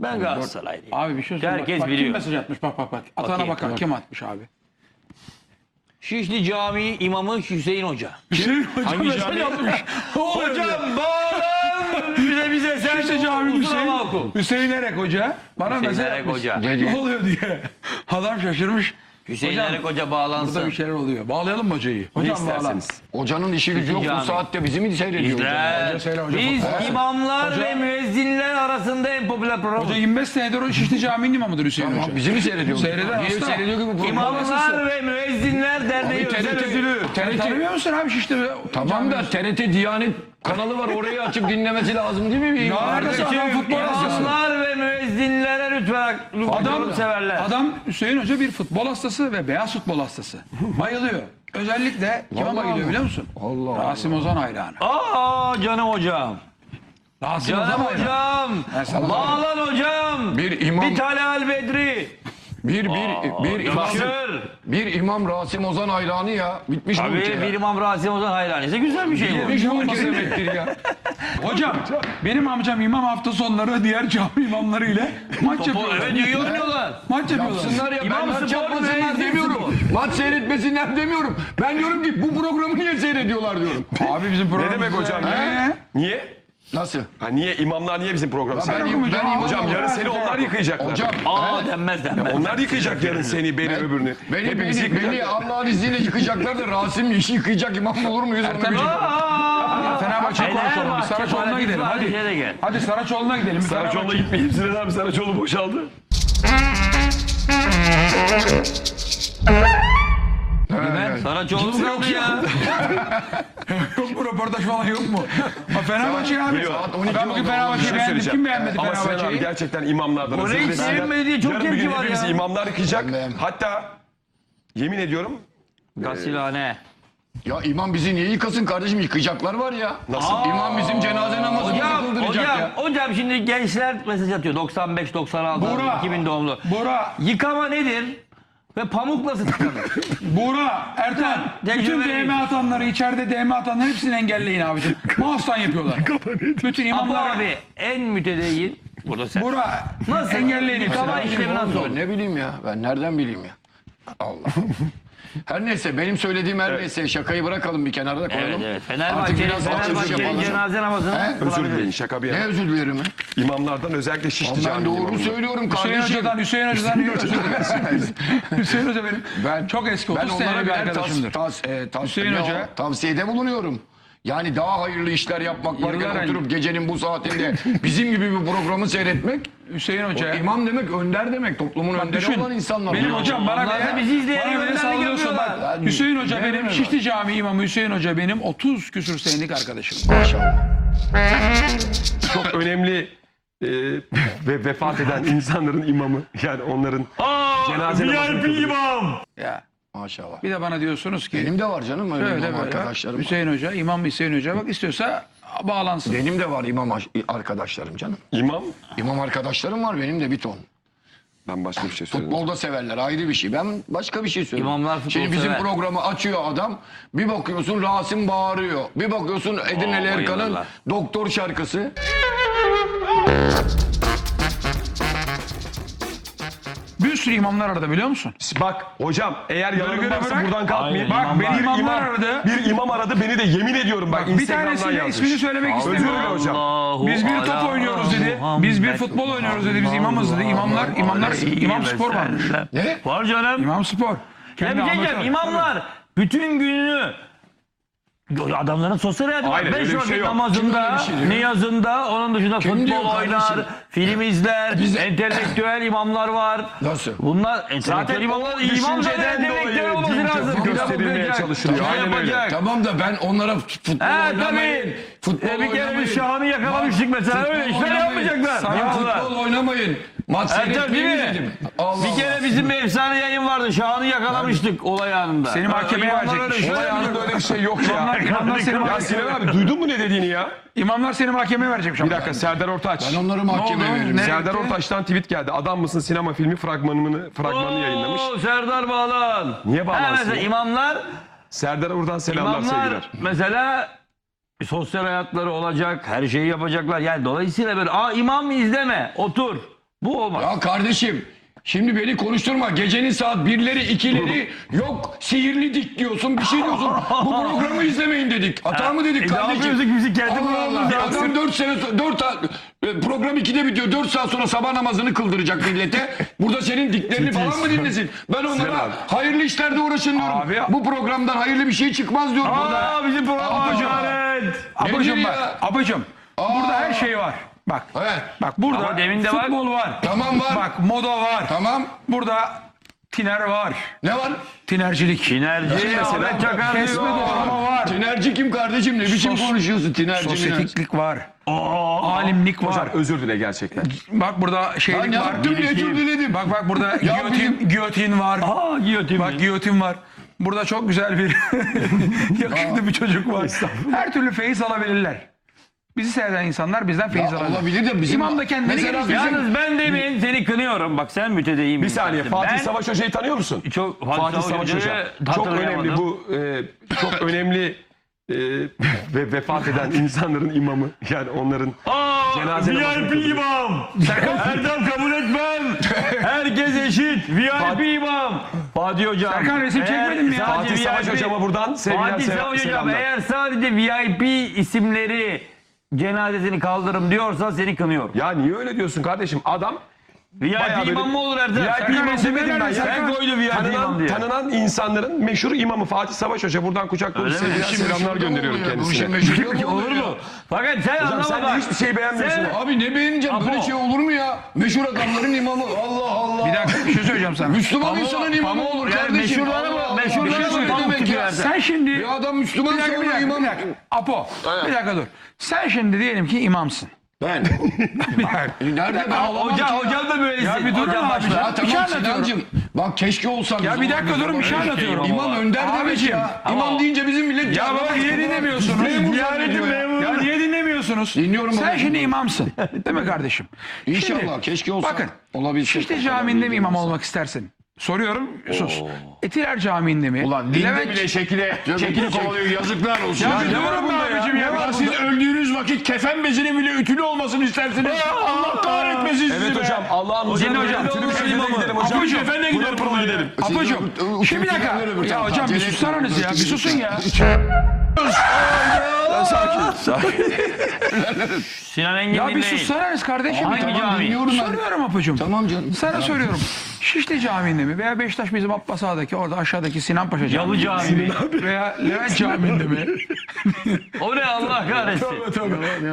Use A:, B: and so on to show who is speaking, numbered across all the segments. A: Ben Galatasaraylıyım.
B: Abi bir şey söyle.
A: Herkes
B: bak, bak, Kim
A: biliyor.
B: mesaj atmış bak bak bak. Atana
A: Bakayım,
B: bakar
A: bak.
B: kim atmış abi.
A: Şişli Camii imamı Hüseyin Hoca.
B: Şey, hocam
C: Hangi
B: mesaj
C: cami?
B: atmış. Hocam.
A: Hocam bağlan bize bize sen
B: İşte cami Hüseyin. Hüseyin Erek Hoca. Bana
A: Hüseyin
B: mesaj
A: Erek
B: atmış.
A: Hoca.
B: Ne oluyor diye. Adam şaşırmış.
A: Hüseyin
B: Hocam,
A: Erek Hoca
B: Burada
A: bağlansın.
B: bir şeyler oluyor. Bağlayalım mı hocayı?
C: Ne
B: Hocam bağlan.
C: isterseniz.
D: Hocanın işi gücü yok
A: cami.
D: bu saatte bizi mi seyrediyor? şey hocam?
A: İzler.
B: Hoca söyle, hoca
A: Biz
B: konuşsun.
A: imamlar
B: Hoca-
A: ve müezzinler arasında en popüler
B: Hoca
A: programımız.
B: 25 senedir o Şişli Camii'nin imamıdır Hüseyin
D: Ama
B: Hoca.
D: bizi mi seyrediyor?
B: Seyreder
D: Niye
B: asla.
D: seyrediyor ki bu programı?
A: İmamlar ve müezzinler derneği
D: Abi,
A: özel
D: TRT
A: ödülü.
B: Sen
D: TRT
B: tanımıyor musun abi Şişli?
D: Tamam da TRT Diyanet kanalı var orayı açıp dinlemesi lazım değil mi?
B: Ya neredesin adam futbol hastası.
A: İmamlar ve müezzinlere lütfen adam
B: Adam
A: severler.
B: Adam Hüseyin Hoca bir futbol hastası ve beyaz futbol hastası. Bayılıyor. Özellikle kime
D: Vallahi
B: bayılıyor
D: Allah.
B: biliyor musun?
D: Allah Allah.
B: Rasim Ozan hayranı.
A: Aa canım hocam.
B: Rasim Ozan
A: Canım
B: hayranı.
A: hocam.
B: Ben sana-
A: Bağlan hocam.
D: Bir imam-
A: Bir tane al Bedri.
D: Bir bir bir imam
A: Yakışır.
D: bir imam Rasim Ozan hayranı ya. Bitmiş bu ülke
A: Tabii
D: ya.
A: bir imam Rasim Ozan hayranıysa güzel bir şey bu.
B: Bir şey olmasa demektir ya. Hocam benim amcam imam hafta sonları diğer cami imamları ile maç
A: Bu
B: yapıyorlar.
A: evet iyi oynuyorlar.
B: Maç yapıyorlar.
D: Yapsınlar ya
A: İmam
D: ben maç
A: spor
D: yapmasınlar
A: mühendisi
D: demiyorum. Maç seyretmesinler demiyorum. Ben diyorum ki bu programı niye seyrediyorlar diyorum.
B: Abi bizim
C: Ne
B: programımız
C: demek hocam?
B: He?
C: ya? Niye?
D: Nasıl?
C: Ha niye imamlar niye bizim programı
D: Ben,
C: seyrediyor?
B: okumayacağım.
D: ben
C: Hocam
B: Hocam,
C: yarın
B: ben-
C: seni onlar yıkayacaklar.
D: Hocam
A: Aa denmez denmez.
C: Onlar yıkayacak yarın seni, beni, öbürünü.
D: Beni
C: Hepimizi
D: beni,
C: yıkayacaklar.
D: beni Allah'ın izniyle yıkacaklar da Rasim işi yıkayacak imam olur muyuz? şey? Onu
B: Ertem-
D: bilmiyorum.
A: Aa!
B: Fenerbahçe konuşalım.
A: Fenerbahçe
B: Biz Saraçoğlu'na
A: Fenerbahçe
B: gidelim hadi.
A: Fenerbahçe'ye de gel.
B: Hadi Saraçoğlu'na gidelim. Bir
C: Saraçoğlu'na gitmeyeyim. Sinan abi Saraçoğlu boşaldı. şey
A: Saraçoğlu mu kaldı ya?
B: Yok mu röportaj falan yok mu? Ha, Fenerbahçe abi.
C: Biliyor.
B: Ha, Ben bugün Fenerbahçe'yi
C: Şunu
B: beğendim.
C: şey söyleyeceğim.
B: Kim beğenmedi
C: Ama Sinan abi
B: Fenerbahçe'yi?
C: gerçekten imamlardan.
A: Oraya
C: özür
A: hiç
C: dilerim.
A: sevinmedi diye çok
C: Yarın
A: tepki
C: bir gün
A: var
C: hepimizi
A: ya.
C: imamlar yıkayacak.
D: beğenmedim.
C: Hatta yemin ediyorum
A: Gasilhane.
D: Ya imam bizi niye yıkasın kardeşim? Yıkayacaklar var ya.
C: Nasıl?
D: İmam bizim cenaze namazımızı
A: Hocam,
D: kıldıracak
A: hocam,
D: ya.
A: hocam şimdi gençler mesaj atıyor. 95, 96,
B: Bora.
A: 2000 doğumlu.
B: Bora,
A: Yıkama nedir? Ve pamuk nasıl tıkanır?
B: Bora, Ertan.
A: Tecrübe
B: Bütün
A: vereyim.
B: DM atanları, içeride DM atanları hepsini engelleyin abicim. Mahsustan yapıyorlar. Bütün
A: Ama
B: imamlar.
A: abi en mütedeyyin. Burada sen.
B: Bora,
A: Nasıl?
B: engelleyin hepsini.
A: Yıkama işlemi nasıl olur?
D: Ben ne bileyim ya. Ben nereden bileyim ya. Allah. her neyse benim söylediğim her neyse şakayı bırakalım bir kenarda koyalım.
A: Evet evet.
D: Artık
A: Fenerbahçe'nin
D: biraz açılış
A: Fenerbahçe'nin
D: yapalım.
A: cenaze namazını
D: He?
C: özür
A: kılabilir.
C: dileyin şaka bir
D: Ne
C: yana.
D: özür dilerim. ya?
C: İmamlardan özellikle Şişli
D: Ben
C: Camii'nin
D: doğru
C: imamları.
D: söylüyorum
A: şey
B: Hüseyin
D: kardeşim.
B: Hoca'dan, Hüseyin Hoca'dan özür dilerim. Hüseyin Hoca benim. Ben çok eski 30
D: Ben onlara
B: senelik bir
D: birer tas,
B: arkadaşımdır.
D: tas, e, tas,
B: Hüseyin
D: ne o?
B: Hoca.
D: tavsiyede bulunuyorum. Yani daha hayırlı işler yapmak
B: Yıllar
D: varken
B: önce.
D: oturup gecenin bu saatinde bizim gibi bir programı seyretmek
B: Hüseyin Hoca.
D: İmam demek önder demek. Toplumun önderi
B: Şey. düşün,
D: olan insanlar.
B: Benim
D: bunlar.
B: hocam bana
A: Onlar da
B: bile,
A: bizi izleyen
B: bana bile
A: yönlerle
B: sallıyorsun bak.
A: görüyorlar.
B: Hüseyin Hoca benim,
D: Beğenmiyorlar.
B: Şişli Camii imamı Hüseyin Hoca benim 30 küsür senelik arkadaşım.
C: Çok önemli e, ve vefat eden insanların imamı. Yani onların cenaze namazını kıldırıyor.
B: Ya.
D: Maşallah.
B: Bir de bana diyorsunuz ki
D: Benim de var canım öyle,
B: öyle
D: imam
B: böyle.
D: arkadaşlarım.
B: Hüseyin Hoca, İmam Hüseyin Hoca bak istiyorsa bağlansın.
D: Benim de var imam aş- arkadaşlarım canım.
C: İmam.
D: İmam arkadaşlarım var benim de bir ton.
C: Ben başka bir şey söyledim.
D: Futbol da severler ayrı bir şey. Ben başka bir şey söylüyorum.
A: İmamlar futbol
D: Şimdi bizim
A: sever.
D: programı açıyor adam. Bir bakıyorsun Rasim bağırıyor. Bir bakıyorsun Edirne
A: Oo,
D: Erkan'ın
A: bayılırlar.
D: doktor şarkısı.
B: Bir sürü imamlar arada biliyor musun?
C: Bak hocam eğer
B: göre
C: yalanım varsa
B: bırak.
C: buradan kalkmayın.
B: Bak,
C: Bak
B: beni
C: bir imam,
B: imamlar aradı.
C: Bir imam aradı beni de yemin ediyorum bak,
B: bir
C: Instagram'dan
B: tanesinin
C: yazmış.
B: ismini söylemek
C: Özür
B: istemiyorum.
C: dilerim hocam.
A: Allahu
B: Biz bir
A: ala
B: top oynuyoruz dedi. Biz bir
A: Muhammed
B: futbol oynuyoruz dedi. Biz imamız dedi. İmamlar, imamlar,
A: aleyhi
B: imam
A: ve
B: spor varmış.
A: sellem.
D: Ne?
A: Var canım.
B: İmam spor.
A: Ya bir şey diyeceğim,
B: amatör.
A: imamlar bütün gününü adamların sosyal hayatı var.
C: Aynen,
A: Beş
C: öyle bir
A: vakit
C: şey yok.
D: Kim böyle
A: namazında,
D: bir şey diyor?
A: niyazında, onun dışında
D: diyor
A: futbol
D: kardeşim?
A: oynar, film izler,
D: Biz-
A: entelektüel imamlar var.
D: Nasıl?
A: Bunlar e, zaten
C: Zaten
A: imamlar
C: o
A: imam
C: düşünceden
A: zaten entelektüel
C: dolayı
A: olması
C: din
A: lazım.
C: tarafı
A: Kitap
C: gösterilmeye
A: okuyacak,
C: çalışılıyor.
A: şey
C: Aynen öyle.
A: yapacak.
D: Tamam da ben onlara fut- futbol
A: He
D: oynamayın.
A: tabii.
D: Futbol
A: E, bir kere
D: oynamayın.
A: biz Şahan'ı yakalamıştık mesela.
D: Futbol
A: Öyle işler
D: oynamayın.
A: yapmayacaklar.
D: Sakın
A: İmamlar.
D: futbol oynamayın. Maç
A: Ertem,
D: seyretmeyin
A: değil mi?
D: dedim. Allah
A: Bir kere bizim bir efsane yayın vardı. Şahan'ı yakalamıştık olay anında.
B: Seni mahkemeye
A: İmamlar öyle
B: verecekmiş.
A: şey
C: Olay
A: yapmıyor.
C: anında öyle bir şey yok
B: İmamlar,
C: ya.
B: imamlar seni
C: Ya
B: mahkemeye,
C: Sinan abi duydun mu ne dediğini ya?
B: imamlar seni mahkemeye verecekmiş.
C: Bir dakika Serdar Ortaç.
D: Ben onları
B: Ne
D: mahkemeye
B: oldu?
D: veririm.
B: Ne-
C: Serdar Ortaç'tan tweet geldi. Adam mısın sinema filmi fragmanını fragmanını yayınlamış.
A: Oo, Serdar Bağlan.
C: Niye bağlansın
A: Ha, mesela
C: ya?
A: imamlar,
C: Serdar'a buradan selamlar sevgiler.
A: imamlar mesela sosyal hayatları olacak, her şeyi yapacaklar. Yani dolayısıyla böyle, aa imam izleme, otur. Bu olmaz.
D: Ya kardeşim şimdi beni konuşturma. Gecenin saat birleri ikileri yok sihirli dik diyorsun bir şey diyorsun. Bu programı izlemeyin dedik. Hata mı dedik
A: E, ne
D: kardeşim?
A: yapıyoruz ki bizi kendi
D: Allah
A: programımız
D: Allah.
A: yapsın.
D: Adam 4 sene 4 program 2'de bitiyor. 4 saat sonra sabah namazını kıldıracak millete. Burada senin diklerini falan mı dinlesin? Ben onlara hayırlı işlerde uğraşın diyorum.
B: Abi-
D: Bu programdan hayırlı bir şey çıkmaz diyorum. burada.
A: Aa bizim program
D: Aa.
A: hakaret.
B: Abacım
D: Nedir
B: bak.
D: ya?
B: Abacım. Burada her şey var. Bak.
D: Evet.
B: Bak burada
A: Ama demin de var.
B: futbol var.
D: Tamam var.
B: Bak moda var.
D: Tamam.
B: Burada tiner var.
D: Ne var?
B: Tinercilik.
A: Tinerci Ahmet Çakar
B: Kesme
A: diyor.
B: doğrama var.
D: Tinerci kim kardeşim? Ne biçim
B: Sos-
D: konuşuyorsun tinerci minerci?
B: Sosyetiklik var.
A: Aa.
B: Alimlik var.
C: Hocam özür dile gerçekten.
B: Bak burada
D: Ya
B: şeylik
D: ne
B: var.
D: yaptım ne özür diledim.
B: Bak bak burada
D: Ya
B: giyotin, giyotin var.
A: Aa giyotin
B: Bak
A: mi?
B: giyotin var. Burada çok güzel bir yakışıklı bir çocuk var. Her türlü feyiz alabilirler. Bizi seyreden insanlar bizden feyiz
D: Ya
B: alabilir.
D: olabilir de bizim-
B: İmam da kendini
D: Mesela
B: geliştirmiş.
D: bizim-
A: Yalnız ben demin seni kınıyorum. Bak sen mütedeyim.
C: Bir saniye Fatih
A: ben...
C: Savaş Hoca'yı tanıyor musun?
A: Çok- Fatih
C: Fatih
A: Savaş
C: Savaş
A: Hoca'yı
C: Hoca. Çok
A: hatırlayamadım.
C: önemli bu e, çok önemli e, ve vefat eden insanların imamı yani onların
A: Aa,
C: Cenaze namazını
A: VIP
C: kıldı.
A: imam. Erdem kabul etmem. Herkes eşit. VIP imam. Fatih Hocam.
B: Serkan resim
A: eğer
B: çekmedin mi ya?
A: sadece
C: Fatih Savaş
A: VIP
C: Hocama buradan sevgiler
A: Fatih
C: sev-
A: Savaş Hocam
C: selamlar.
A: eğer sadece VIP isimleri cenazesini kaldırım diyorsa seni kınıyorum.
C: Ya niye öyle diyorsun kardeşim? Adam bayağı
A: VIP
C: böyle-
A: imam mı olur Erdem?
C: VIP
A: Serkan
C: imam
A: resim
C: demedim ben.
A: çekmedin mi?
C: ya.
A: Sen koydun VIP imam
C: tanınan,
A: diye.
C: tanınan insanların meşhur imamı Fatih Savaş Hoca. Buradan kucak dolusu
A: Öyle mi?
C: sevgiler,
D: İşin
C: selamlar
D: meşhurluğu
C: gönderiyorum
D: mu oluyor? Bu işin
C: kendisine.
D: meşhurluğu mu
A: Olur
D: oluyor?
A: mu? Fakat sen
C: Hocam
A: anlama
C: sen de
A: bak.
C: hiçbir şey beğenmiyorsun.
A: Sen-
D: Abi ne beğeneceğim? Böyle
A: Apo.
D: şey olur mu ya? Meşhur adamların imamı. Allah Allah.
B: Bir dakika bir şey söyleyeceğim sana.
D: Müslüman insanın imamı
A: pamuk-
D: olur
A: yani
D: kardeşim.
A: meşhurlara bak,
D: Allah Allah.
A: meşhurlara
D: Bir şey
A: bak,
D: söyle
A: pamuk
D: demek
A: tutuyor
D: ya.
A: herhalde.
B: Sen şimdi...
D: Bir adam
B: Bir
D: Müslüman
B: dakika, bir
D: sonra
B: dakika,
D: imam.
B: bir dakika. Apo bir dakika dur. Sen şimdi diyelim ki imamsın.
D: Ben.
B: Bir dakika.
D: Nerede ben alamam ki
A: Hocam,
D: ya?
A: hocam da böylesin.
B: Ya bir durun
A: hocam
B: abi.
A: başla.
D: Ya
B: Bir şey
D: tamam
B: anlatıyorum.
D: Sinancım. Bak keşke olsam.
B: Ya bir dakika durun bir şey anlatıyorum.
D: İmam Önder demek
B: Abicim,
D: ya.
A: ama-
D: İmam deyince bizim millet...
B: Ya baba niye dinlemiyorsunuz?
D: Memur
B: Ziyaretin
D: zannediyor ya.
B: memuru. Ya niye dinlemiyorsunuz?
D: Dinliyorum
B: Sen
D: babacığım.
B: şimdi imamsın. Değil mi kardeşim?
D: İnşallah,
B: Şimdi,
D: keşke olsa.
B: Bakın.
D: Olabilsek.
B: Şişli Camii'nde mi imam olmak istersin? Soruyorum sus. Etiler Camii'nde mi?
E: Ulan dinde
B: Levent-
E: bile şekile çekil kovalıyor yazıklar olsun.
B: Ya bir
E: şey- ne var
B: durun be
E: bunda
B: abicim ya.
E: Ne var siz öldüğünüz vakit kefen bezinin bile ütülü olmasını istersiniz. Allah kahretmesin sizi
C: Evet
E: be.
C: hocam
A: Hocam,
C: Allah'ın huzuruna
A: hocam,
C: gidelim. Tribün
A: hocam,
C: şehrine
A: imamı.
C: gidelim hocam.
B: Abicim,
E: Kefenle gider pırla gidelim.
B: Apacım. Şimdi bir dakika. Ya hocam bir susarınız ya. Bir susun ya.
A: Sinan Engin
B: Ya bir
A: dinleyin.
B: susarınız kardeşim.
A: Hangi
B: Tamam,
A: cami?
B: dinliyorum ben. Soruyorum apacım.
D: Tamam canım.
B: Sana söylüyorum. Şişli Camii'nde mi veya Beşiktaş bizim Abbas Ağa'daki orada aşağıdaki Sinan Paşa Camii
A: Yalı Camii.
B: veya Levent Camii'nde mi?
A: O ne Allah kahretsin.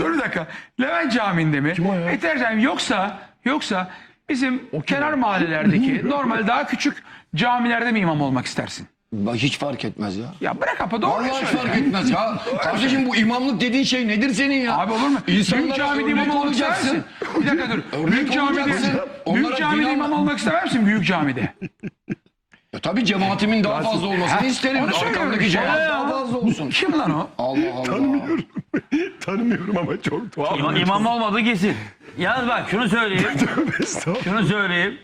B: Dur bir dakika. Levent Camii'nde mi? Eter Camii yoksa yoksa bizim kenar mahallelerdeki normal daha küçük camilerde mi imam olmak istersin?
D: Bak hiç fark etmez ya.
B: Ya bırak apa doğru
D: Vallahi hiç
B: söyle.
D: fark etmez ya. Kardeşim bu imamlık dediğin şey nedir senin ya?
B: Abi olur mu? büyük
D: İnsanlara
B: camide imam
D: örnek
B: olmak ister misin?
D: olacaksın.
B: Bir dakika dur.
D: Örnek
B: büyük camide,
D: olacaksın.
B: büyük
D: Onlara
B: camide
D: din
B: imam
D: anla-
B: olmak ister misin büyük camide?
D: Ya E tabii cemaatimin daha fazla olmasını isterim.
B: Onu söylüyorum
D: Arkamdaki
B: işte
D: cemaat
B: ya.
D: daha fazla olsun.
B: Kim lan o?
D: Allah Allah.
C: Tanımıyorum ama çok tuhaf.
A: İma, imam olmadı kesin. Yalnız bak şunu söyleyeyim. şunu söyleyeyim.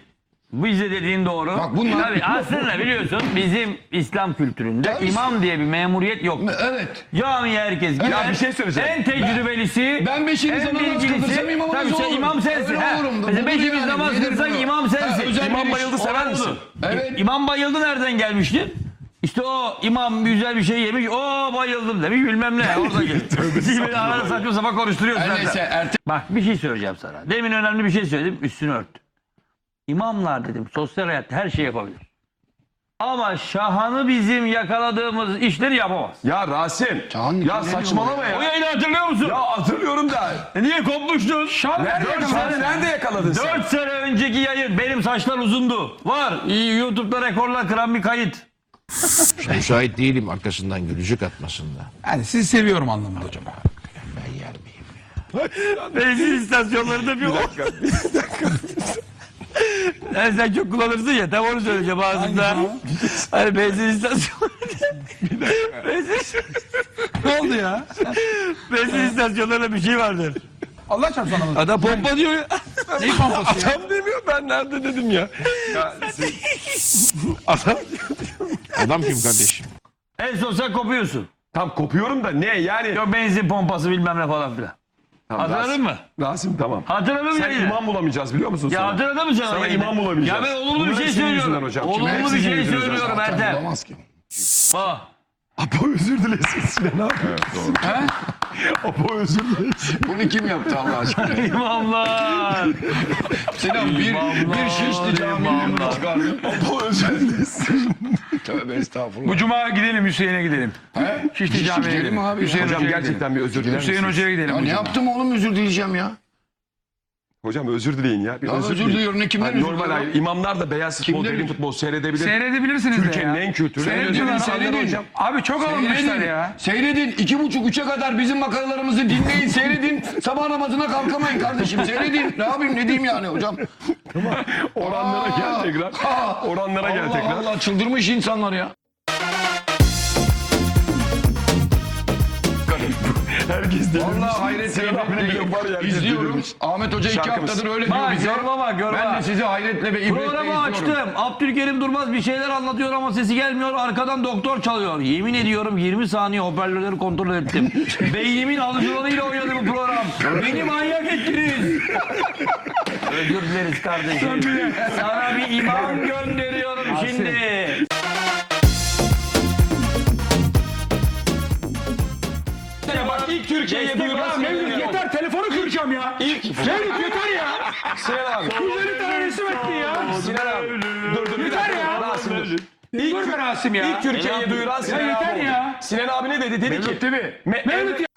A: Bu bize dediğin doğru.
D: Bak bunlar-
A: Tabii aslında biliyorsun bizim İslam kültüründe
D: Tabii.
A: imam diye bir memuriyet yok.
D: Evet.
A: Camiye herkes girer.
D: bir
C: şey söyleyeceğim.
A: En tecrübelisi,
D: Ben beşinci
A: en
D: zamana namaz kıldırsam imam
A: Tabii
D: olacağım.
A: sen imam sensin.
D: Öyle
A: ha.
D: olurum da.
A: Mesela
D: Bu
A: beşinci
D: yani,
A: namaz
D: nedir
A: kılsan
D: bu?
A: imam
D: Ha,
A: sensin.
D: özel bir
A: imam
D: iş.
A: bayıldı
C: Sever misin?
D: Evet.
A: İmam bayıldı nereden gelmişti? İşte o imam güzel bir şey yemiş. O bayıldım demiş bilmem ne. Orada gelmiş. Siz beni arada saçma sapan konuşturuyorsunuz.
D: Her neyse erte-
A: Bak bir şey söyleyeceğim sana. Demin önemli bir şey söyledim üstünü örttü. İmamlar dedim sosyal hayatta her şeyi yapabilir. Ama şahanı bizim yakaladığımız işleri yapamaz.
C: Ya Rasim.
D: Can,
C: ya
D: ne
C: saçmalama ya.
A: O yayını hatırlıyor musun?
C: Ya hatırlıyorum da.
A: Niye kopmuştun? Şan
C: Dört sene E nerede yakaladın sen?
A: 4 sene önceki yayın benim saçlar uzundu. Var. İyi, YouTube'da rekorlar kıran bir kayıt.
F: Müsait değilim arkasından gülücük atmasında.
B: Yani sizi seviyorum anlamında hocam.
F: Ben yer miyim?
A: Benzin istasyonlarında bir, bir dakika. Yani sen çok kullanırsın ya tam onu söyleyeceğim ağzımda. Hani benzin istasyonu. benzin,
B: Ne oldu ya?
A: benzin istasyonlarında bir şey vardır.
B: Allah çarpsın anlamadım.
A: Adam pompa diyor ya.
B: Ne pompası ya?
C: Tam demiyor ben nerede dedim ya.
F: Adam kim kardeşim?
A: En son sen kopuyorsun.
C: Tam kopuyorum da ne yani.
A: Yok benzin pompası bilmem ne falan filan. Hatırladın mı?
C: Rasim tamam.
A: Hatırladın mı?
C: Sen
A: yine?
C: imam bulamayacağız biliyor musun?
A: Ya
C: sana?
A: hatırladın mı sen?
C: Sana
A: orayı?
C: imam bulamayacağız.
A: Ya ben olumlu bir
C: Bunların
A: şey
C: senin yüzünden
A: söylüyorum.
C: hocam. Kimin
A: Olumlu bir şey
C: yüzünden
A: söylüyorum Ertem.
F: Bulamaz ki.
A: Bak.
C: Apo özür dilesin Sinan abi. Apo özür dilesin.
D: Bunu kim yaptı Allah aşkına?
A: İmamlar.
D: Sinan bir, bir şişli caminin
A: imamlar.
D: çıkardı.
C: Apo özür dilesin.
D: Tövbe estağfurullah.
B: Bu cuma gidelim Hüseyin'e gidelim. Şişli Camii'ye
E: gidelim
B: gidelim.
E: abi ya.
B: Hüseyin
C: Hocam
B: Hoca'ya gidelim.
C: gerçekten bir özür diler
B: Hüseyin
C: misiniz?
B: Hoca'ya gidelim.
E: Ya
B: bu
E: ne
B: cuma.
E: yaptım oğlum özür dileyeceğim ya.
C: Hocam özür dileyin ya. Bir
E: Ya özür diliyorum, ne kimden
C: Hani
E: özür
C: Normal
E: diliyorum?
C: hayır, imamlar da beyaz futbol,
E: Kimden
C: derin
E: özür-
C: futbol seyredebilir.
B: Seyredebilirsiniz de
C: Türkiye'nin
B: ya.
C: en kültürlü, en
B: Seyredin,
C: özel
B: seyredin.
D: insanları hocam.
B: Abi çok alınmışlar
D: Seyredin,
B: ya.
D: seyredin. iki buçuk üçe kadar bizim makalalarımızı dinleyin, seyredin. Sabah namazına kalkamayın kardeşim, seyredin. Ne yapayım, ne diyeyim yani hocam?
C: Oranlara gel tekrar.
D: Aa!
C: Oranlara gel
D: Allah
C: tekrar.
D: Allah, çıldırmış insanlar ya.
C: Herkes deli.
D: Allah hayret
C: Sinan abinin
D: ibretle
C: bir var ya, herkes
D: izliyorum.
C: delirmiş.
D: Ahmet Hoca iki
C: Şarkımız.
D: haftadır öyle diyor
A: Bak
D: bize.
A: yoruma bak yoruma.
D: Ben de sizi hayretle ve ibretle
A: Programı
D: izliyorum.
A: açtım. Abdülkerim Durmaz bir şeyler anlatıyor ama sesi gelmiyor. Arkadan doktor çalıyor. Yemin ediyorum 20 saniye hoparlörleri kontrol ettim. Beynimin alıcılarıyla oynadı bu program. Beni manyak ettiniz. Özür dileriz kardeşim. Sana bir imam gönderiyorum şimdi.
C: Bak ilk Türkiye'ye
A: Destek
C: duyuran
A: olsun.
C: Mevlüt yeter.
B: telefonu kıracağım ya. Mevlüt yeter ya.
C: Sinan abi.
B: 150 tane resim etti ya.
C: Sinan abi. Dur dur. bir
B: Yeter
C: dakika,
B: ya.
C: Rasim dur.
B: Dur be Rasim ya.
C: İlk Türkiye'ye duyuran Sinan abi.
B: yeter
C: oldu.
B: ya.
C: Sinan abi ne dedi? Dedi ki.
E: Değil mi?
C: Me-
B: Mevlüt